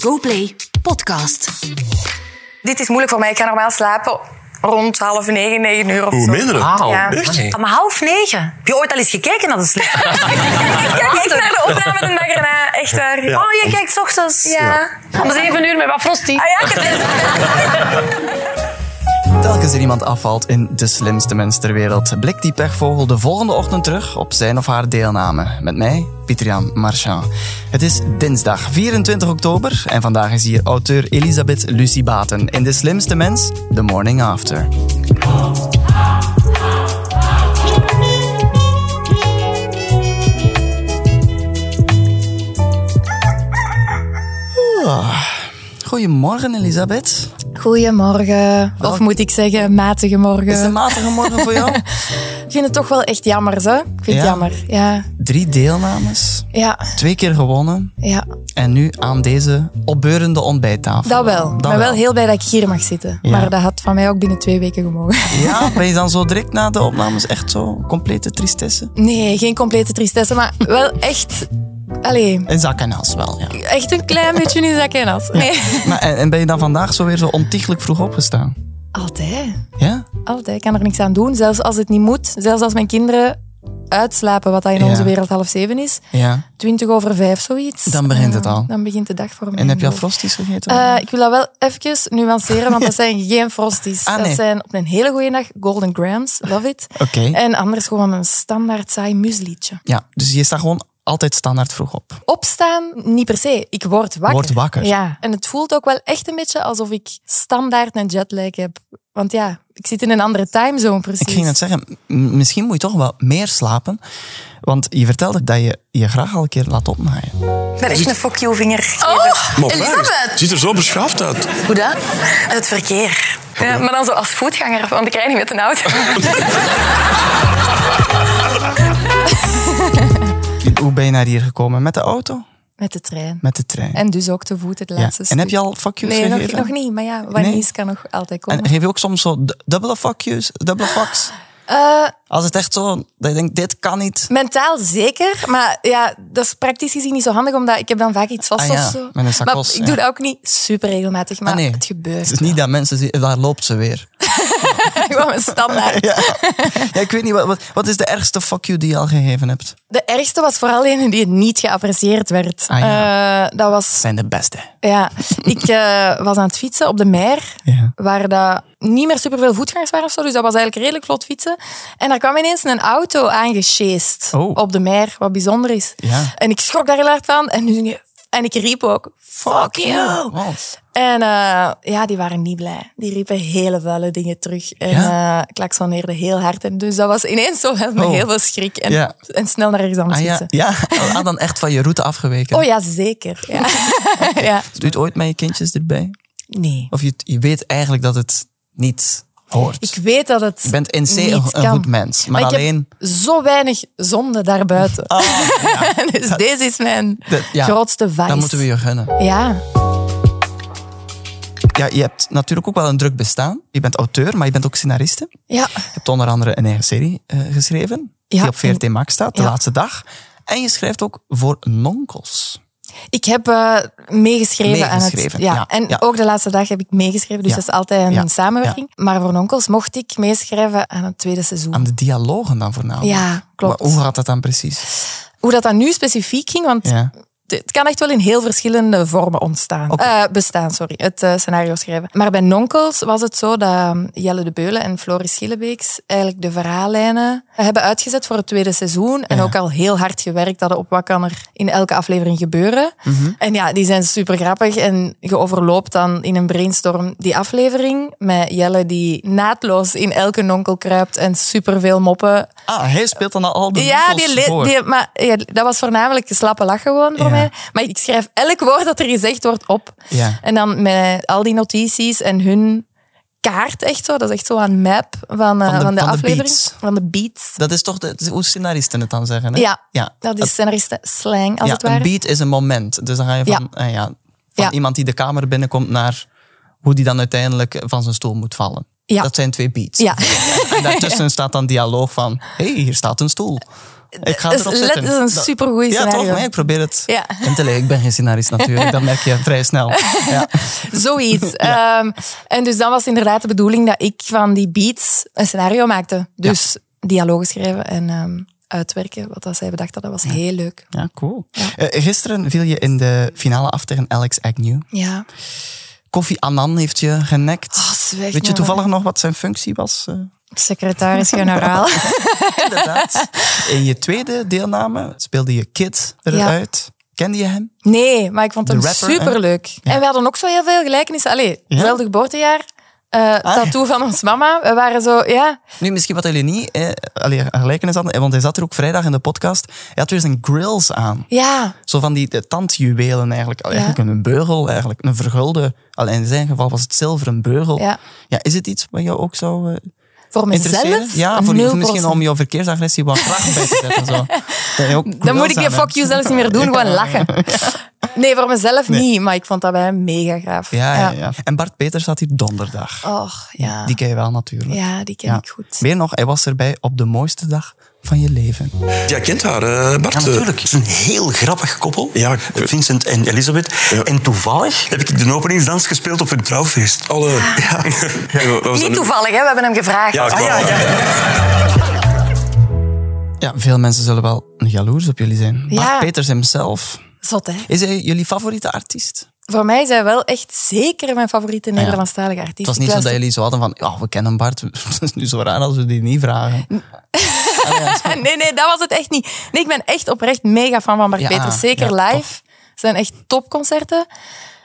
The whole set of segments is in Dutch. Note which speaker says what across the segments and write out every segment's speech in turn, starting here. Speaker 1: GoPlay podcast.
Speaker 2: Dit is moeilijk voor mij. Ik ga normaal slapen rond half negen, negen uur of
Speaker 3: Hoe
Speaker 2: zo.
Speaker 3: minder het?
Speaker 4: Wauw,
Speaker 2: Ja.
Speaker 3: Echt?
Speaker 4: amai.
Speaker 5: Om half negen. Heb je ooit al eens gekeken naar de slip?
Speaker 2: Ik kijk echt naar de opname de dag erna. Echt waar.
Speaker 3: Ja.
Speaker 2: Oh, je kijkt...
Speaker 5: Kijk, 's ochtends.
Speaker 2: Ja.
Speaker 6: Dat is even uur met wat frosty.
Speaker 2: Ah ja, ik heb
Speaker 7: Telkens er iemand afvalt in de slimste mens ter wereld, blikt die pechvogel de volgende ochtend terug op zijn of haar deelname. Met mij, Pietriaan Marchand. Het is dinsdag 24 oktober en vandaag is hier auteur Elisabeth Lucie Baten in De Slimste Mens, The Morning After. Ah, Goedemorgen, Elisabeth.
Speaker 6: Goedemorgen. Of moet ik zeggen, matige morgen.
Speaker 7: Is het een matige morgen voor jou?
Speaker 6: Ik vind het toch wel echt jammer, hè? Ik
Speaker 7: Ja?
Speaker 6: vind het jammer. Ja,
Speaker 7: Drie deelnames,
Speaker 6: ja,
Speaker 7: twee keer gewonnen
Speaker 6: ja.
Speaker 7: en nu aan deze opbeurende ontbijttafel.
Speaker 6: Dat wel. Ik ben wel
Speaker 7: wel.
Speaker 6: heel blij dat ik hier mag zitten.
Speaker 7: Ja.
Speaker 6: Maar dat had van mij ook binnen twee weken gemogen.
Speaker 7: Ja, ben je dan zo direct na de opnames echt zo complete tristesse?
Speaker 6: Nee, geen complete tristesse, maar wel echt... Allee,
Speaker 7: En zak en as wel, ja.
Speaker 6: echt een klein beetje in zak en as. Nee.
Speaker 7: Maar, en, en ben je dan vandaag zo weer zo ontiegelijk vroeg opgestaan?
Speaker 6: Altijd.
Speaker 7: Ja?
Speaker 6: Altijd. Ik kan er niks aan doen. Zelfs als het niet moet. Zelfs als mijn kinderen uitslapen, wat dat in
Speaker 7: Ja.
Speaker 6: onze wereld half zeven is.
Speaker 7: Ja.
Speaker 6: Twintig over vijf, zoiets.
Speaker 7: Dan begint het
Speaker 6: Ja,
Speaker 7: al.
Speaker 6: Dan begint de dag voor mij.
Speaker 7: En heb je al
Speaker 6: geloof ik.
Speaker 7: frosties gegeten?
Speaker 6: Eh, ik wil dat wel even nuanceren, want dat zijn geen frosties.
Speaker 7: Ah, nee.
Speaker 6: Dat zijn op een hele goede dag Golden Grams, love it.
Speaker 7: Oké.
Speaker 6: En anders gewoon een standaard saai mueslietje.
Speaker 7: Ja, dus je staat gewoon altijd standaard vroeg op.
Speaker 6: Opstaan, niet per se. Ik word wakker.
Speaker 7: Word wakker.
Speaker 6: Ja, en het voelt ook wel echt een beetje alsof ik standaard een jetlag heb. Want ja, ik zit in een andere timezone precies.
Speaker 7: Ik ging net zeggen, m- misschien moet je toch wel meer slapen. Want je vertelde dat je je graag al een keer laat opnaaien.
Speaker 2: Ik ben echt een fuck you vinger.
Speaker 5: Oh!
Speaker 3: Maar waar? Ziet er zo beschaafd uit.
Speaker 2: Hoe dat? Het verkeer. Ja, maar dan zo als voetganger, want ik rij niet met een auto.
Speaker 7: Hoe ben je naar hier gekomen? Met de auto?
Speaker 6: Met de trein.
Speaker 7: Met de trein?
Speaker 6: En dus ook te voet het
Speaker 7: Ja.
Speaker 6: laatste
Speaker 7: En heb
Speaker 6: stuk.
Speaker 7: je al fuck yous
Speaker 6: Nee, nog,
Speaker 7: gegeven?
Speaker 6: nog niet. Maar ja, wanneer
Speaker 7: Nee.
Speaker 6: is kan nog altijd komen.
Speaker 7: En geef je ook soms zo du- dubbele fuck yous, dubbele fucks?
Speaker 6: Ah, Eh,
Speaker 7: Als het echt zo, dat je denkt, dit kan niet.
Speaker 6: Mentaal zeker, maar ja, dat is praktisch gezien niet zo handig, omdat ik heb dan vaak iets vast
Speaker 7: Ah ja,
Speaker 6: of zo.
Speaker 7: met een zakos,
Speaker 6: maar ik
Speaker 7: ja.
Speaker 6: doe dat ook niet super regelmatig, maar
Speaker 7: Ah, nee.
Speaker 6: het gebeurt.
Speaker 7: Het is niet dat mensen zien, daar loopt ze weer.
Speaker 6: Gewoon een standaard.
Speaker 7: Ja. Ja, ik weet niet, wat, wat, wat is de ergste fuck you die je al gegeven hebt?
Speaker 6: De ergste was vooral een die niet geapprecieerd werd.
Speaker 7: Ah, ja.
Speaker 6: Eh, dat was,
Speaker 7: Zijn de beste.
Speaker 6: ja, ik eh, was aan het fietsen op de Meer,
Speaker 7: Ja.
Speaker 6: waar dat niet meer superveel voetgangers waren of zo, dus dat was eigenlijk redelijk vlot fietsen. En daar kwam ineens een auto aangesjeest
Speaker 7: Oh.
Speaker 6: op de Meer, wat bijzonder is.
Speaker 7: Ja.
Speaker 6: En ik schrok daar heel hard van en, nu, en ik riep ook, fuck you!
Speaker 7: Oh.
Speaker 6: En eh, ja, die waren niet blij. Die riepen hele vuile dingen terug. En
Speaker 7: Ja?
Speaker 6: eh, klaksoneerden heel hard. En dus dat was ineens zo wel met
Speaker 7: Oh.
Speaker 6: heel veel schrik. En,
Speaker 7: Ja.
Speaker 6: en snel naar ergens anders
Speaker 7: Ah, ja,
Speaker 6: fietsen.
Speaker 7: ja. Ah, dan echt van je route afgeweken.
Speaker 6: Oh ja, zeker. Ja. ja.
Speaker 7: Doe je het ooit met je kindjes erbij?
Speaker 6: Nee.
Speaker 7: Of je, je weet eigenlijk dat het niet hoort.
Speaker 6: Ik weet dat het
Speaker 7: je bent in C
Speaker 6: niet
Speaker 7: een, een
Speaker 6: kan.
Speaker 7: goed mens, maar,
Speaker 6: ik
Speaker 7: alleen...
Speaker 6: heb zo weinig zonde daarbuiten.
Speaker 7: Ah,
Speaker 6: dus deze is mijn
Speaker 7: Dat- ja.
Speaker 6: grootste vice.
Speaker 7: dat moeten we je gunnen.
Speaker 6: Ja.
Speaker 7: Ja, je hebt natuurlijk ook wel een druk bestaan. Je bent auteur, maar je bent ook scenariste.
Speaker 6: Ja.
Speaker 7: Je hebt onder andere een eigen serie eh, geschreven,
Speaker 6: Ja,
Speaker 7: die op VRT
Speaker 6: en-
Speaker 7: Max staat, de
Speaker 6: ja.
Speaker 7: laatste dag. En je schrijft ook voor nonkels.
Speaker 6: Ik heb eh, meegeschreven, aan
Speaker 7: Meegeschreven,
Speaker 6: het. Ja.
Speaker 7: ja,
Speaker 6: En
Speaker 7: ja.
Speaker 6: ook de laatste dag heb ik meegeschreven, dus
Speaker 7: Ja.
Speaker 6: dat is altijd een
Speaker 7: Ja,
Speaker 6: samenwerking. Maar voor Onkels mocht ik meeschrijven aan het tweede seizoen.
Speaker 7: Aan de dialogen dan voornamelijk.
Speaker 6: Ja, klopt.
Speaker 7: Maar hoe gaat dat dan precies?
Speaker 6: Hoe dat dan nu specifiek ging, want
Speaker 7: Ja.
Speaker 6: het het kan echt wel in heel verschillende vormen ontstaan.
Speaker 7: Oké.
Speaker 6: Eh, bestaan, sorry. Het eh, scenario schrijven. Maar bij Nonkels was het zo dat eh, Jelle de Beulen en Floris Schillebeeks eigenlijk de verhaallijnen hebben uitgezet voor het tweede seizoen. En ook al heel hard gewerkt hadden op wat kan er in elke aflevering gebeuren. En ja, die zijn super grappig. En je overloopt dan in een brainstorm die aflevering met Jelle die naadloos in elke nonkel kruipt en superveel moppen
Speaker 7: Ah, hij speelt dan al de
Speaker 6: ja,
Speaker 7: nonkels
Speaker 6: die, le-
Speaker 7: voor.
Speaker 6: die- maar, ja, dat was voornamelijk een slappe lach gewoon voor
Speaker 7: Ja.
Speaker 6: mij. Maar ik schrijf elk woord dat er gezegd wordt op.
Speaker 7: Ja.
Speaker 6: En dan met al die notities en hun kaart echt zo. Dat is echt zo een map van, eh,
Speaker 7: Van de-
Speaker 6: van, de,
Speaker 7: van de
Speaker 6: aflevering.
Speaker 7: beats.
Speaker 6: Van de beats.
Speaker 7: Dat is toch de, hoe scenaristen het dan zeggen, hè?
Speaker 6: Ja,
Speaker 7: ja.
Speaker 6: dat is scenaristen slang, als
Speaker 7: ja,
Speaker 6: het ware.
Speaker 7: Een beat is een moment. Dus dan ga je van, eh, ja, van
Speaker 6: Ja.
Speaker 7: iemand die de kamer binnenkomt naar hoe die dan uiteindelijk van zijn stoel moet vallen.
Speaker 6: Ja.
Speaker 7: Dat zijn twee beats.
Speaker 6: Ja.
Speaker 7: En daartussen staat dan dialoog van, hé, hey, hier staat een stoel. Ik ga
Speaker 6: Dat is
Speaker 7: erop
Speaker 6: let-
Speaker 7: zitten.
Speaker 6: dat is een
Speaker 7: Dat-
Speaker 6: supergoeie
Speaker 7: Ja,
Speaker 6: scenario.
Speaker 7: toch? Nee, ik probeer het
Speaker 6: Ja.
Speaker 7: in te leggen. Ik ben geen scenarist natuurlijk, dat merk je vrij snel. Ja.
Speaker 6: Zoiets. Ehm, en dus dan was inderdaad de bedoeling dat ik van die beats een scenario maakte. Dus dialogen schrijven en ehm, uitwerken wat dat zij bedacht hadden. Dat was heel leuk.
Speaker 7: Ja, cool. Eh, gisteren viel je in de finale af tegen Alex Agnew.
Speaker 6: Ja.
Speaker 7: Kofi Annan heeft je genekt.
Speaker 6: Oh, zweeg
Speaker 7: Weet je
Speaker 6: maar.
Speaker 7: toevallig nog wat zijn functie was? Eh,
Speaker 6: Secretaris-generaal.
Speaker 7: inderdaad. In je tweede deelname speelde je Kid eruit. Kende je hem?
Speaker 6: Nee, maar ik vond
Speaker 7: De
Speaker 6: hem
Speaker 7: rapper, hè?
Speaker 6: superleuk. En we hadden ook zo heel veel gelijkenissen. Allee, hetzelfde geboortejaar.
Speaker 7: Ah,
Speaker 6: eh tattoo van ons mama. We waren zo, ja.
Speaker 7: Nu, misschien wat jullie niet eh, allee, gelijkenis hadden, eh, want hij zat er ook vrijdag in de podcast. Hij had weer zijn grills aan.
Speaker 6: Ja,
Speaker 7: Zo van die eh, tandjuwelen eigenlijk. Allee,
Speaker 6: Ja.
Speaker 7: Eigenlijk een beugel, eigenlijk. een vergulde. Alleen in zijn geval was het zilveren beugel.
Speaker 6: Ja.
Speaker 7: is het iets wat jou ook zou eh,
Speaker 6: voor
Speaker 7: interesseren?
Speaker 6: mezelf.
Speaker 7: Ja, voor, voor misschien
Speaker 6: 0%.
Speaker 7: om jouw verkeersagressie wat kracht bij te zetten. Zo. Dat je ook
Speaker 6: Dan moet
Speaker 7: grills
Speaker 6: ik
Speaker 7: aan
Speaker 6: je
Speaker 7: hebt.
Speaker 6: fuck you zelfs niet meer doen, gewoon lachen. Nee, voor mezelf niet, maar ik vond dat bij hem mega gaaf.
Speaker 7: Ja, ja, ja. En Bart Peters zat hier donderdag.
Speaker 6: Och, Oh, ja.
Speaker 7: Die ken je wel natuurlijk.
Speaker 6: Ja, die ken
Speaker 7: Ja.
Speaker 6: ik goed.
Speaker 7: Weer nog, hij was erbij op de mooiste dag van je leven.
Speaker 4: Jij kent haar, eh, Bart.
Speaker 8: Ja, natuurlijk. Het is een heel grappig koppel. eh,
Speaker 3: Ja, ik-
Speaker 8: Vincent en Elisabeth.
Speaker 3: Ja.
Speaker 8: En toevallig heb ik de openingsdans gespeeld op hun trouwfeest.
Speaker 3: Alle... Ja. wat was dat
Speaker 2: Niet
Speaker 3: nu?
Speaker 2: toevallig, hè? we hebben hem gevraagd.
Speaker 3: Ja,
Speaker 8: Ah,
Speaker 3: klopt.
Speaker 8: ja, ja.
Speaker 7: Ja, veel mensen zullen wel jaloers op jullie zijn. Bart
Speaker 6: Ja.
Speaker 7: Peters himself.
Speaker 6: Zot, hè?
Speaker 7: Is hij jullie favoriete artiest?
Speaker 6: Voor mij is hij wel echt zeker mijn favoriete Nederlandstalige artiest.
Speaker 7: Ah, Het was
Speaker 6: Ik
Speaker 7: niet zo dat
Speaker 6: luister-
Speaker 7: jullie zo hadden van, ja, we kennen Bart. Het is nu zo raar als we die niet vragen.
Speaker 6: nee, nee, dat was het echt niet. Nee, ik ben echt oprecht mega fan van Bart
Speaker 7: Ja,
Speaker 6: Peters. Zeker
Speaker 7: ja,
Speaker 6: live. Het zijn echt topconcerten.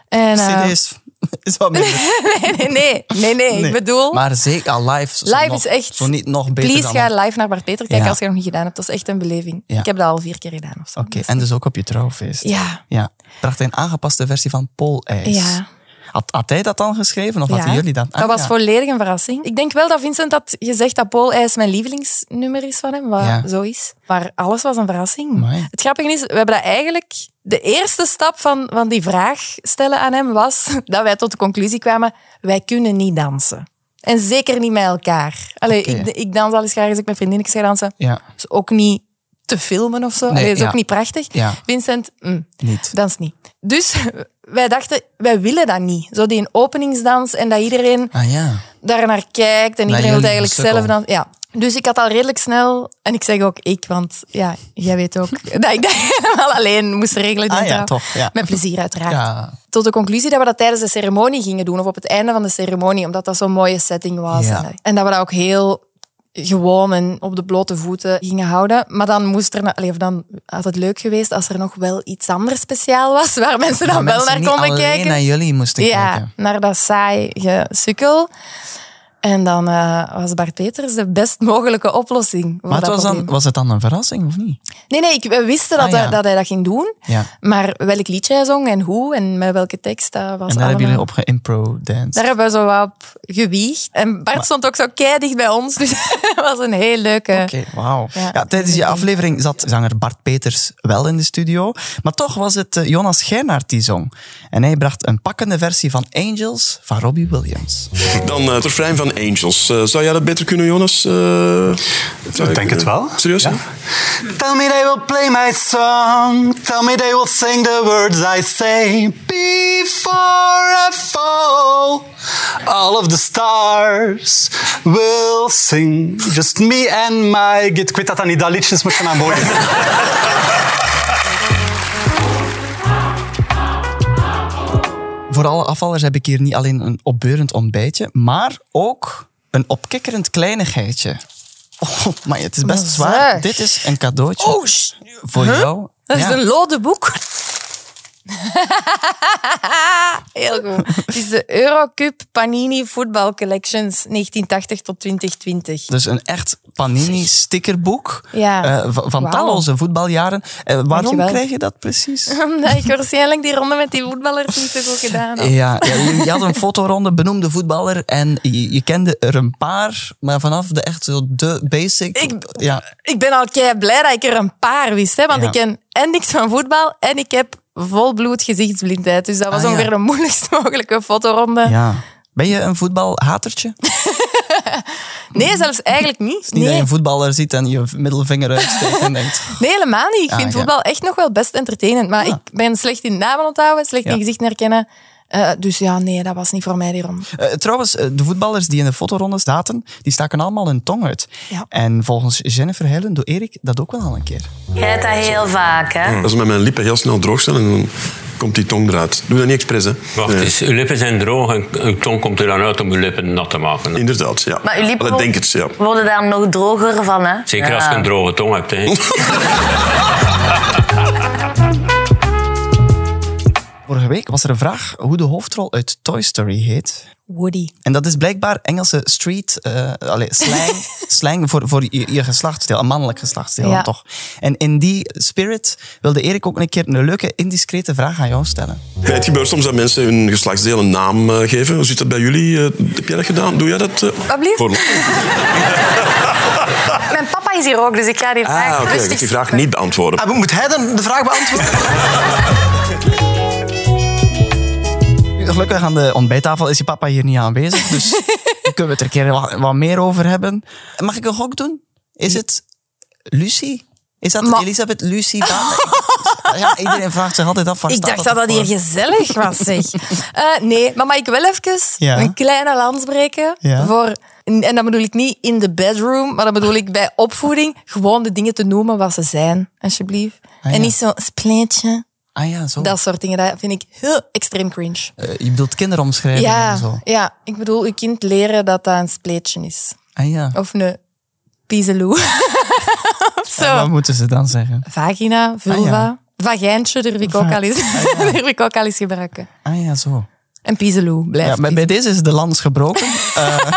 Speaker 6: En, eh,
Speaker 7: CD's is wat minder.
Speaker 6: nee, nee, nee, nee,
Speaker 7: Nee.
Speaker 6: Ik bedoel,
Speaker 7: Maar zeker al live. zo
Speaker 6: live
Speaker 7: nog-
Speaker 6: is echt...
Speaker 7: Zo niet nog beter
Speaker 6: Please
Speaker 7: dan...
Speaker 6: ga live naar Bart Peter kijken
Speaker 7: Ja.
Speaker 6: als je dat nog niet gedaan hebt. Dat is echt een beleving.
Speaker 7: Ja.
Speaker 6: Ik heb dat al vier keer gedaan of zo.
Speaker 7: Oké,
Speaker 6: Dus-
Speaker 7: en dus ook op je trouwfeest.
Speaker 6: Ja.
Speaker 7: ja. Bracht hij een aangepaste versie van Poolijs.
Speaker 6: Ja.
Speaker 7: Had, had hij dat dan geschreven of
Speaker 6: Ja.
Speaker 7: hadden jullie dat?
Speaker 6: dat
Speaker 7: Ah,
Speaker 6: was
Speaker 7: ja.
Speaker 6: volledig een verrassing. Ik denk wel dat Vincent had gezegd dat Paul IJs mijn lievelingsnummer is van hem, wat
Speaker 7: Ja.
Speaker 6: zo is. Maar alles was een verrassing.
Speaker 7: Amai.
Speaker 6: Het grappige is, we hebben dat eigenlijk... De eerste stap van, van die vraag stellen aan hem was dat wij tot de conclusie kwamen, wij kunnen niet dansen. En zeker niet met elkaar. Allee,
Speaker 7: Oké.
Speaker 6: ik, ik dans al eens graag als ik met vriendinnetjes ga dansen.
Speaker 7: Ja,
Speaker 6: is Dus ook niet te filmen of zo.
Speaker 7: Nee,
Speaker 6: Allee, is
Speaker 7: ja.
Speaker 6: ook niet prachtig.
Speaker 7: Ja.
Speaker 6: Vincent, mm,
Speaker 7: niet.
Speaker 6: dans niet. Dus wij dachten, wij willen dat niet. Zo die een openingsdans en dat iedereen
Speaker 7: Ah ja.
Speaker 6: daar naar kijkt en
Speaker 7: jullie
Speaker 6: iedereen wil eigenlijk
Speaker 7: sukkel.
Speaker 6: zelf dan. Ja. Dus ik had al redelijk snel, en ik zeg ook ik, want ja, jij weet ook dat ik dat helemaal alleen moest regelen. die
Speaker 7: Ah ja,
Speaker 6: trouw.
Speaker 7: toch, ja.
Speaker 6: Met plezier, uiteraard.
Speaker 7: Ja.
Speaker 6: Tot de conclusie dat we dat tijdens de ceremonie gingen doen, of op het einde van de ceremonie, omdat dat zo'n mooie setting was.
Speaker 7: Ja.
Speaker 6: En, en dat we dat ook heel gewoon en op de blote voeten gingen houden. Maar dan, moest er, na- allee, of dan had het leuk geweest als er nog wel iets anders speciaal was, waar mensen
Speaker 7: Dat
Speaker 6: dan wel
Speaker 7: mensen
Speaker 6: naar
Speaker 7: niet
Speaker 6: konden
Speaker 7: alleen
Speaker 6: kijken
Speaker 7: naar jullie moesten
Speaker 6: ja,
Speaker 7: kijken.
Speaker 6: naar dat saai gesukkel. En dan eh, was Bart Peters de best mogelijke oplossing. Voor
Speaker 7: Maar het
Speaker 6: dat
Speaker 7: was, dan,
Speaker 6: probleem.
Speaker 7: was het dan een verrassing of niet?
Speaker 6: Nee, nee, ik, we wisten dat,
Speaker 7: Ah,
Speaker 6: hij-
Speaker 7: ja.
Speaker 6: dat hij dat ging doen.
Speaker 7: Ja.
Speaker 6: Maar welk liedje hij zong en hoe en met welke tekst, dat was
Speaker 7: en daar
Speaker 6: allemaal...
Speaker 7: hebben jullie op geïmpro-dance.
Speaker 6: Daar hebben we zo wat op gewiegd. En Bart stond ook zo dicht bij ons. Dus het was een heel leuke...
Speaker 7: Oké, wauw. Ja,
Speaker 6: Ja,
Speaker 7: tijdens je
Speaker 6: zeker.
Speaker 7: aflevering zat zanger Bart Peters wel in de studio. Maar toch was het eh, Jonas Gernaert die zong. En hij bracht een pakkende versie van Angels van Robbie Williams.
Speaker 3: Dan eh, het refrein van Angels. Eh, zou jij dat beter kunnen, Jonas? eh,
Speaker 8: Ik denk het wel.
Speaker 3: Serieus?
Speaker 8: Ja.
Speaker 3: hè?
Speaker 8: Tell me they will play my song. Tell me they will sing the words I say. Before I fall, all of the stars will sing. Just me and my git. Ik weet dat dat niet dat liedje is, maar ik kan aan boord.
Speaker 7: Voor alle afvallers heb ik hier niet alleen een opbeurend ontbijtje, maar ook een opkikkerend kleinigheidje. Oh, maar het is best
Speaker 6: Maar
Speaker 7: zwaar.
Speaker 6: zeg.
Speaker 7: Dit is een cadeautje
Speaker 6: Oh, sh-
Speaker 7: voor jou.
Speaker 6: dat is
Speaker 7: Ja.
Speaker 6: een lode boek. Heel goed. Het is de Eurocup Panini Football Collections 1980 tot 2020.
Speaker 7: Dus een echt Panini-stickerboek
Speaker 6: Ja.
Speaker 7: eh, van van
Speaker 6: Wauw.
Speaker 7: talloze voetbaljaren. Eh, waarom
Speaker 6: Dankjewel.
Speaker 7: krijg je dat precies?
Speaker 6: Omdat ik waarschijnlijk die ronde met die voetballers niet zo goed gedaan had.
Speaker 7: Ja, ja, je, je had een fotoronde, benoemde voetballer. En je, je kende er een paar, maar vanaf de echt zo de basic.
Speaker 6: Ik-
Speaker 7: ja,
Speaker 6: Ik ben al kei blij dat ik er een paar wist. Hè, want
Speaker 7: Ja.
Speaker 6: ik ken en niks van voetbal en ik heb volbloed gezichtsblindheid. Dus dat was
Speaker 7: Ah, ja.
Speaker 6: Eh. ongeveer de moeilijkst mogelijke fotoronde.
Speaker 7: ja. Ben je een voetbalhatertje?
Speaker 6: Nee, zelfs eigenlijk niet.
Speaker 7: Niet dat je
Speaker 6: Nee,
Speaker 7: een voetballer ziet en je middelvinger uitsteekt en denkt...
Speaker 6: nee, helemaal niet. Ik
Speaker 7: Ah,
Speaker 6: vind
Speaker 7: ja.
Speaker 6: voetbal echt nog wel best entertainend. Maar ik ben slecht in namen onthouden, slecht
Speaker 7: Ja.
Speaker 6: in gezichten herkennen. Eh, dus ja, nee, dat was niet voor mij, die rom.
Speaker 7: Eh, trouwens, eh, de voetballers die in de fotoronde zaten, die staken allemaal hun tong uit.
Speaker 6: Ja.
Speaker 7: En volgens Jennifer Heilen doet Erik dat ook wel al een keer.
Speaker 5: Jij hebt dat heel vaak, hè?
Speaker 3: Als ze met mijn lippen heel snel droog zijn, dan komt die tong eruit. Doe dat niet expres, hè?
Speaker 4: Wacht
Speaker 3: Nee.
Speaker 4: eens, uw lippen zijn droog en uw tong komt er dan uit om uw lippen nat te maken.
Speaker 3: Inderdaad, ja.
Speaker 5: Maar uw lippen
Speaker 3: Dat denk het, ja.
Speaker 5: worden daar nog droger van, hè?
Speaker 4: Zeker
Speaker 5: Ja.
Speaker 4: als je een droge tong hebt. Hè.
Speaker 7: Vorige week was er een vraag hoe de hoofdrol uit Toy Story heet.
Speaker 6: Woody.
Speaker 7: En dat is blijkbaar Engelse street, eh allee, slang, slang voor, voor je, je geslachtsdeel, een mannelijk geslachtsdeel
Speaker 6: Ja.
Speaker 7: dan toch. En in die spirit wilde Erik ook een keer een leuke, indiscrete vraag aan jou stellen.
Speaker 3: Nee, het gebeurt soms dat mensen hun geslachtsdeel een naam eh, geven. Hoe zit dat bij jullie? Eh, heb jij dat gedaan? Doe jij dat? eh?
Speaker 2: Alsjeblieft.
Speaker 3: Voor-
Speaker 2: Mijn papa is hier ook, dus ik ga die vraag
Speaker 3: Ah, oké. ik
Speaker 2: rustig
Speaker 3: heb die vraag niet beantwoorden.
Speaker 8: Ah, Moet hij dan de vraag beantwoorden?
Speaker 7: Gelukkig aan de ontbijttafel is je papa hier niet aanwezig, dus daar kunnen we het er een keer wat, wat meer over hebben. Mag ik een gok doen? Is het Lucy? Is dat
Speaker 6: Ma-
Speaker 7: Elisabeth Lucy van? ja, iedereen vraagt zich altijd af waar
Speaker 6: Ik
Speaker 7: staat
Speaker 6: dacht dat dat
Speaker 7: voor?
Speaker 6: hier gezellig was, zeg. Eh, nee, maar mag ik wel even
Speaker 7: Ja.
Speaker 6: een kleine lans breken?
Speaker 7: Ja.
Speaker 6: Voor, en dat bedoel ik niet in de bedroom, maar dat bedoel ik bij opvoeding. Gewoon de dingen te noemen wat ze zijn, alsjeblieft.
Speaker 7: Ah, ja.
Speaker 6: En niet zo'n spleetje.
Speaker 7: Ah ja, zo.
Speaker 6: Dat soort dingen, dat vind ik heel extreem cringe.
Speaker 7: Eh, je bedoelt kinderomschrijvingen en
Speaker 6: Ja,
Speaker 7: zo.
Speaker 6: ja, ik bedoel, je kind leren dat dat een spleetje is.
Speaker 7: Ah ja.
Speaker 6: Of een piezeloe. of zo.
Speaker 7: Wat moeten ze dan zeggen?
Speaker 6: Vagina, vulva.
Speaker 7: Ah, ja.
Speaker 6: Vagijntje durf ik, ook al eens, durf ik ook al eens gebruiken.
Speaker 7: Ah ja, zo.
Speaker 6: En piezeloe, blijf.
Speaker 7: Ja, maar bij deze is de lans gebroken.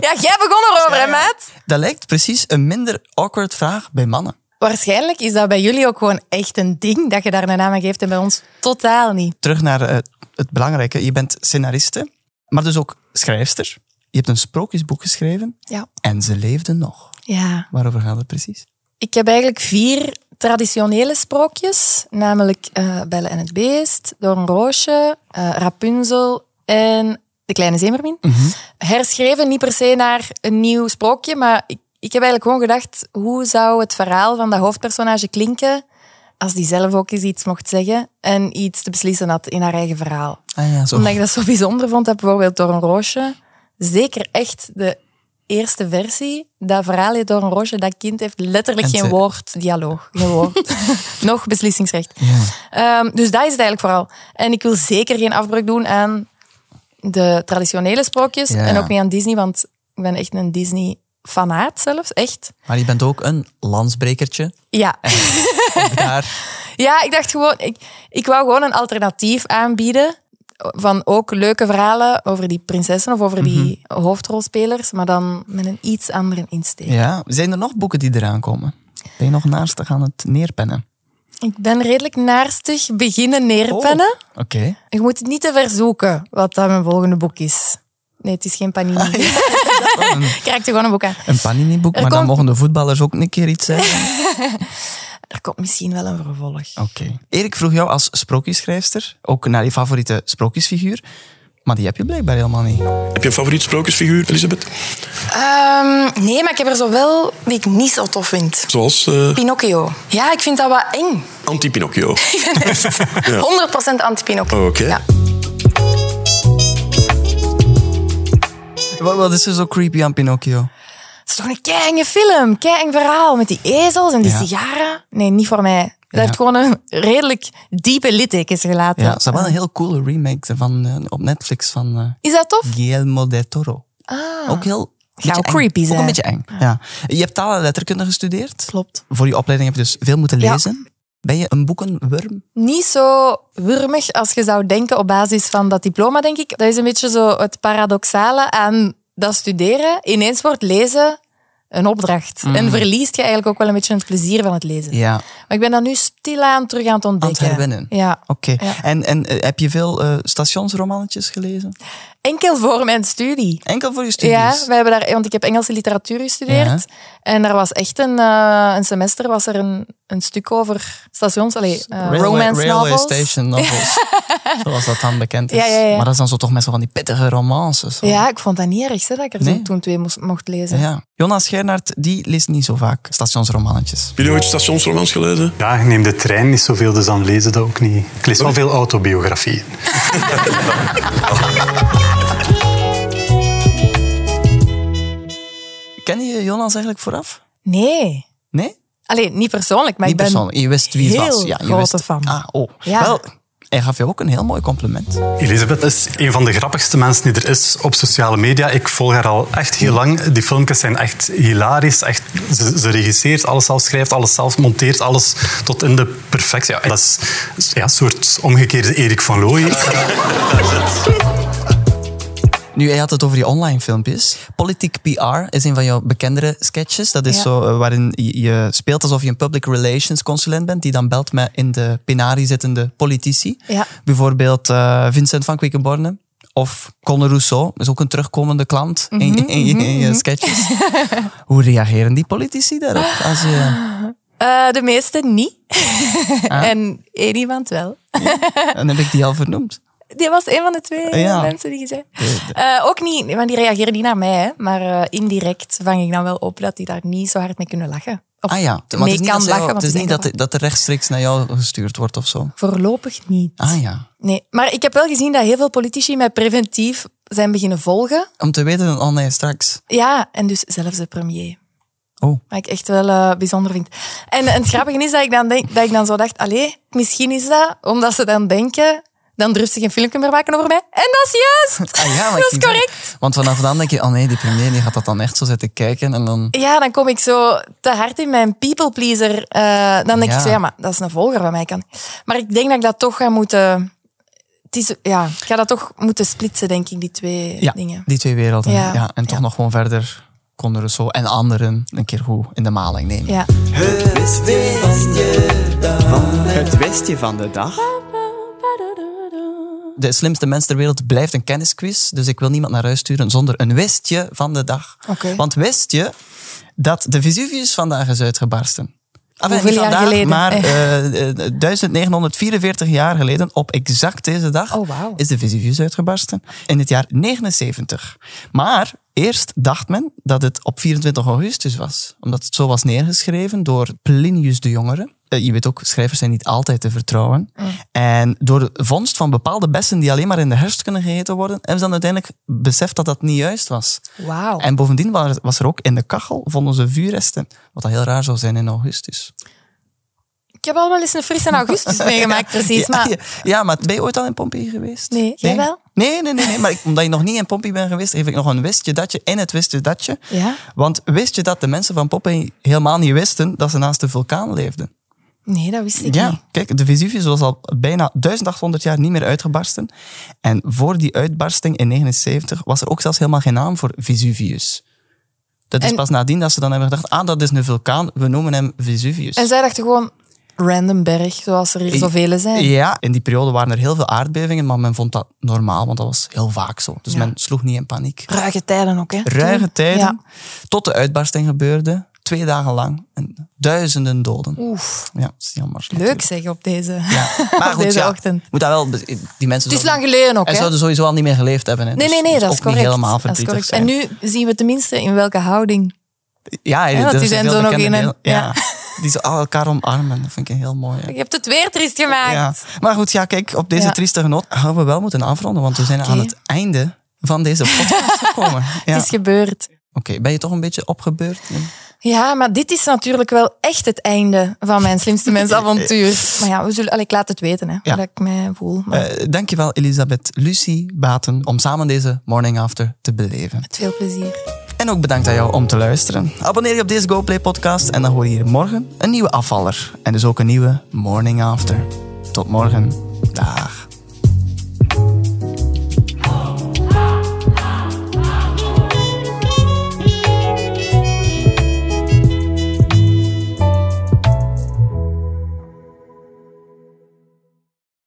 Speaker 6: Ja, jij begon erover, hè, maat?
Speaker 7: dat lijkt precies een minder awkward vraag bij mannen.
Speaker 6: Waarschijnlijk is dat bij jullie ook gewoon echt een ding dat je daar een naam aan geeft en bij ons totaal niet.
Speaker 7: terug naar eh, het belangrijke. Je bent scenariste, maar dus ook schrijfster. Je hebt een sprookjesboek geschreven
Speaker 6: Ja.
Speaker 7: en ze leefden nog.
Speaker 6: Ja.
Speaker 7: Waarover gaat het precies?
Speaker 6: Ik heb eigenlijk vier traditionele sprookjes, namelijk eh Belle en het Beest, Door een Roosje, eh, Rapunzel en De Kleine Zeemermin. Herschreven niet per se naar een nieuw sprookje, maar ik, ik heb eigenlijk gewoon gedacht, hoe zou het verhaal van dat hoofdpersonage klinken als die zelf ook eens iets mocht zeggen en iets te beslissen had in haar eigen verhaal.
Speaker 7: Ah ja, zo.
Speaker 6: Omdat ik dat zo bijzonder vond, dat bijvoorbeeld door een roosje, zeker echt de eerste versie, dat verhaalje door een roosje, dat kind heeft letterlijk
Speaker 7: En
Speaker 6: geen
Speaker 7: ze-
Speaker 6: woord dialoog, geen woord. Nog beslissingsrecht. Ehm, dus dat is het eigenlijk vooral. En ik wil zeker geen afbreuk doen aan de traditionele sprookjes
Speaker 7: Ja.
Speaker 6: en ook niet aan Disney, want ik ben echt een Disney-fanaat zelfs, echt.
Speaker 7: Maar je bent ook een landsbrekertje.
Speaker 6: Ja,
Speaker 7: Daar.
Speaker 6: Ja, ik dacht gewoon, ik, ik wou gewoon een alternatief aanbieden. Van ook leuke verhalen over die prinsessen of over die hoofdrolspelers, maar dan met een iets andere insteek.
Speaker 7: Ja. Zijn er nog boeken die eraan komen? Ben je nog naastig aan het neerpennen?
Speaker 6: Ik ben redelijk naarstig beginnen neerpennen.
Speaker 7: Oh, Oké.
Speaker 6: Je moet het niet te verzoeken wat dat mijn volgende boek is. Nee, het is geen panini. Ik krijg er gewoon een boek aan.
Speaker 7: Een Panini-boek,
Speaker 6: Er
Speaker 7: maar dan
Speaker 6: komt-
Speaker 7: mogen de voetballers ook een keer iets zeggen.
Speaker 6: Er komt misschien wel een vervolg.
Speaker 7: Oké. Erik vroeg jou als sprookjesschrijfster ook naar je favoriete sprookjesfiguur. Maar die heb je blijkbaar helemaal niet.
Speaker 3: Heb je een favoriet sprookjesfiguur, Elisabeth?
Speaker 2: Ehm, nee, maar ik heb er zo wel die ik niet zo tof vind.
Speaker 3: Zoals eh
Speaker 2: Pinocchio. Ja, ik vind dat wat eng.
Speaker 3: Anti-Pinocchio.
Speaker 2: Ik ben echt 100% anti-Pinocchio.
Speaker 3: Oké.
Speaker 2: Ja.
Speaker 7: Wat, wat is er zo creepy aan Pinocchio?
Speaker 6: Het is toch een keihenge film, keiheng verhaal met die ezels en die
Speaker 7: Ja.
Speaker 6: sigaren. Nee, niet voor mij. Dat heeft gewoon een redelijk diepe littekens gelaten.
Speaker 7: Ja, ze hebben wel een heel coole remake ervan eh, op Netflix van eh,
Speaker 6: Is dat tof?
Speaker 7: Guillermo del Toro. Ook heel beetje
Speaker 6: ook
Speaker 7: eng.
Speaker 6: Ah. creepy
Speaker 7: Ook een
Speaker 6: zijn.
Speaker 7: beetje eng. Ja. Je hebt taal en letterkunde gestudeerd.
Speaker 6: Klopt.
Speaker 7: Voor je opleiding heb je dus veel moeten
Speaker 6: Ja.
Speaker 7: lezen. Ben je een boekenworm?
Speaker 6: Niet zo wurmig als je zou denken op basis van dat diploma, denk ik. Dat is een beetje zo het paradoxale aan dat studeren. Ineens wordt lezen een opdracht. En verliest je eigenlijk ook wel een beetje het plezier van het lezen.
Speaker 7: Mhm. Ja.
Speaker 6: Maar ik ben dat nu stilaan terug aan het ontdekken.
Speaker 7: herwinnen.
Speaker 6: Ja.
Speaker 7: Oké.
Speaker 6: Ja.
Speaker 7: En, en eh, heb je veel eh, stationsromannetjes gelezen?
Speaker 6: Enkel voor mijn studie.
Speaker 7: Enkel voor je
Speaker 6: Ja,
Speaker 7: studies?
Speaker 6: we hebben daar, want ik heb Engelse literatuur gestudeerd. En daar was echt een, eh, een semester was er een, een stuk over stations, allee, eh,
Speaker 7: Railway-
Speaker 6: romance
Speaker 7: railway
Speaker 6: novels.
Speaker 7: station novels. Zoals dat dan bekend is.
Speaker 6: Ja, ja, ja.
Speaker 7: Maar dat is dan zo toch met zo van die pittige romances. zo.
Speaker 6: Ja, ik vond dat niet erg, hè, dat ik er
Speaker 7: Nee.
Speaker 6: zo toen twee moest, mocht lezen.
Speaker 7: Ja. Jonas Gernaert, die leest niet zo vaak stationsromannetjes.
Speaker 3: Jullie ooit stationsromans gelezen?
Speaker 8: Ja, ik neem de trein niet zoveel, dus dan lezen dat ook niet. Ik lees wel veel autobiografieën.
Speaker 7: Ken je Jonas eigenlijk vooraf?
Speaker 6: Nee.
Speaker 7: Nee?
Speaker 6: Allee, niet persoonlijk, maar
Speaker 7: niet
Speaker 6: ik ben...
Speaker 7: persoonlijk. Je wist wie het
Speaker 6: heel
Speaker 7: was. Ja, je
Speaker 6: grote
Speaker 7: wist...
Speaker 6: fan.
Speaker 7: Ah, oh.
Speaker 6: Ja.
Speaker 7: Wel, hij gaf jou ook een heel mooi compliment.
Speaker 8: Elisabeth is een van de grappigste mensen die er is op sociale media. Ik volg haar al echt heel lang. Die filmpjes zijn echt hilarisch. Echt, ze, ze regisseert, alles zelf schrijft, alles zelf monteert, alles tot in de perfectie. Ja, dat is ja, een soort omgekeerde Erik van Looy.
Speaker 7: Nu, hij had het over die online filmpjes. Politiek PR is een van jouw bekendere sketches. Dat is
Speaker 6: Ja.
Speaker 7: zo eh, waarin je je speelt alsof je een public relations consulent bent, die dan belt met in de penarie zittende politici.
Speaker 6: Ja.
Speaker 7: Bijvoorbeeld eh, Vincent van Quickenborne. Of Conor Rousseau, is ook een terugkomende klant
Speaker 6: Mhm,
Speaker 7: in, je- in, je- in je sketches. Hoe reageren die politici daarop? Als je,
Speaker 6: Eh, de meeste niet.
Speaker 7: Ah.
Speaker 6: en één iemand wel.
Speaker 7: dan heb ik die al vernoemd.
Speaker 6: Die was een van de twee
Speaker 7: Ja.
Speaker 6: mensen die je zei. Eh, ook niet, want die reageren niet naar mij. Hè. Maar eh, indirect vang ik dan wel op dat die daar niet zo hard mee kunnen lachen. Of
Speaker 7: Ah ja,
Speaker 6: mee
Speaker 7: het is niet,
Speaker 6: kan
Speaker 7: dat, ze jou-
Speaker 6: lachen. want
Speaker 7: het is
Speaker 6: die
Speaker 7: niet
Speaker 6: denken
Speaker 7: dat, dat er rechtstreeks naar jou gestuurd wordt of zo.
Speaker 6: van, Voorlopig niet.
Speaker 7: Ah ja,
Speaker 6: Nee, maar ik heb wel gezien dat heel veel politici mij preventief zijn beginnen volgen.
Speaker 7: om te weten, oh nee, straks.
Speaker 6: Ja, en dus zelfs de premier.
Speaker 7: Oh.
Speaker 6: Wat ik echt wel eh, bijzonder vind. En, en het grappige is dat ik dan, denk, dat ik dan zo dacht, allee, misschien is dat omdat ze dan denken, dan durft ze geen filmpje meer maken over mij. En dat is juist!
Speaker 7: Ah ja, maar ik
Speaker 6: dat
Speaker 7: zie
Speaker 6: is
Speaker 7: het.
Speaker 6: correct.
Speaker 7: Want vanaf dan denk je, oh nee, die premier die gaat dat dan echt zo zitten kijken. En dan,
Speaker 6: Ja, dan kom ik zo te hard in mijn people pleaser. eh, dan denk
Speaker 7: Ja.
Speaker 6: ik zo, ja, maar dat is een volger van mij. Kan. Maar ik denk dat ik dat toch ga moeten... Het is, ja, ik ga dat toch moeten splitsen, denk ik, die twee
Speaker 7: ja,
Speaker 6: dingen.
Speaker 7: die twee werelden. Ja.
Speaker 6: Ja.
Speaker 7: en toch
Speaker 6: Ja.
Speaker 7: nog gewoon verder konden Rousseau en anderen een keer goed in de maling nemen.
Speaker 6: Ja.
Speaker 9: Het westje van de dag.
Speaker 7: De slimste mens ter wereld blijft een kennisquiz. Dus ik wil niemand naar huis sturen zonder een wistje van de dag.
Speaker 6: Oké.
Speaker 7: Want wist je dat de Vesuvius vandaag is uitgebarsten? Enfin,
Speaker 6: Hoeveel
Speaker 7: niet
Speaker 6: jaar
Speaker 7: vandaag,
Speaker 6: geleden?
Speaker 7: Maar
Speaker 6: Eh.
Speaker 7: eh, eh, 1944 jaar geleden, op exact deze dag,
Speaker 6: Oh, wauw.
Speaker 7: is de Vesuvius uitgebarsten. In het jaar 79. Maar eerst dacht men dat het op 24 augustus was. Omdat het zo was neergeschreven door Plinius de Jongere. Eh, Je weet ook, schrijvers zijn niet altijd te vertrouwen.
Speaker 6: Mm.
Speaker 7: En door de vondst van bepaalde bessen die alleen maar in de herfst kunnen gegeten worden, hebben ze dan uiteindelijk beseft dat dat niet juist was.
Speaker 6: Wauw.
Speaker 7: En bovendien wa- was er, ook in de kachel vonden ze vuurresten. Wat dat heel raar zou zijn in augustus.
Speaker 6: Ik heb al wel eens een frisse augustus meegemaakt,
Speaker 7: ja,
Speaker 6: precies. Maar
Speaker 7: ja, ja, maar ben je ooit al in Pompeii geweest?
Speaker 6: Nee, jij wel?
Speaker 7: Nee, nee, nee, nee, maar ik- omdat je nog niet in Pompeii bent geweest, geef ik nog een wist je datje in het wist je datje.
Speaker 6: Ja.
Speaker 7: Want wist je dat de mensen van Pompeii helemaal niet wisten dat ze naast de vulkaan leefden?
Speaker 6: nee, dat wist ik niet.
Speaker 7: Ja, kijk, de Vesuvius was al bijna 1800 jaar niet meer uitgebarsten. En voor die uitbarsting in 79 was er ook zelfs helemaal geen naam voor Vesuvius. Dat is
Speaker 6: En-
Speaker 7: pas nadien dat ze dan hebben gedacht, ah, dat is een vulkaan, we noemen hem Vesuvius.
Speaker 6: En zij dachten gewoon, random berg, zoals er hier zoveel zijn.
Speaker 7: Ja, in die periode waren er heel veel aardbevingen, maar men vond dat normaal, want dat was heel vaak zo. Dus men sloeg niet in paniek.
Speaker 6: Ruige tijden ook, hè.
Speaker 7: Ruige
Speaker 6: Toen.
Speaker 7: tijden,
Speaker 6: Ja.
Speaker 7: tot de uitbarsting gebeurde, twee dagen lang, en duizenden doden.
Speaker 6: Oef,
Speaker 7: Ja, dat is jammer.
Speaker 6: leuk zeg op deze,
Speaker 7: Maar goed,
Speaker 6: deze
Speaker 7: ja,
Speaker 6: ochtend.
Speaker 7: moet dat wel, be- die mensen
Speaker 6: Het is
Speaker 7: zouden-
Speaker 6: lang geleden ook,
Speaker 7: En
Speaker 6: hè.
Speaker 7: zouden sowieso al niet meer geleefd hebben. Hè?
Speaker 6: Nee,
Speaker 7: Dus
Speaker 6: nee, nee,
Speaker 7: moet
Speaker 6: dat is
Speaker 7: ook niet
Speaker 6: correct.
Speaker 7: helemaal
Speaker 6: dat is
Speaker 7: verdrietig
Speaker 6: correct.
Speaker 7: zijn.
Speaker 6: En nu zien we tenminste in welke houding.
Speaker 7: ja,
Speaker 6: want
Speaker 7: dat
Speaker 6: die
Speaker 7: is
Speaker 6: zijn
Speaker 7: heel
Speaker 6: zo nog
Speaker 7: bekende
Speaker 6: in een-
Speaker 7: heel- ja.
Speaker 6: ja.
Speaker 7: Die zo al elkaar omarmen, dat vind ik heel mooi. hè.
Speaker 6: Je hebt het weer triest gemaakt.
Speaker 7: Ja. Maar goed, ja, kijk, op deze
Speaker 6: Ja.
Speaker 7: trieste genoot gaan we wel moeten afronden, want we zijn aan het einde van deze podcast gekomen. Ja.
Speaker 6: Het
Speaker 7: Oké,
Speaker 6: is gebeurd.
Speaker 7: ben je toch een beetje opgebeurd? Nee.
Speaker 6: Ja, maar dit is natuurlijk wel echt het einde van mijn slimste mensavontuur. Maar ja, we zullen, allee, ik laat het weten, hè,
Speaker 7: Eh, Ja.
Speaker 6: dat ik mij voel. Maar
Speaker 7: Eh, dankjewel, Elisabeth Lucie Baten, om samen deze Morning After te beleven.
Speaker 6: met veel plezier.
Speaker 7: En ook bedankt aan jou om te luisteren. Abonneer je op deze GoPlay-podcast en dan hoor je hier morgen een nieuwe afvaller. En dus ook een nieuwe Morning After. Tot morgen. Dag.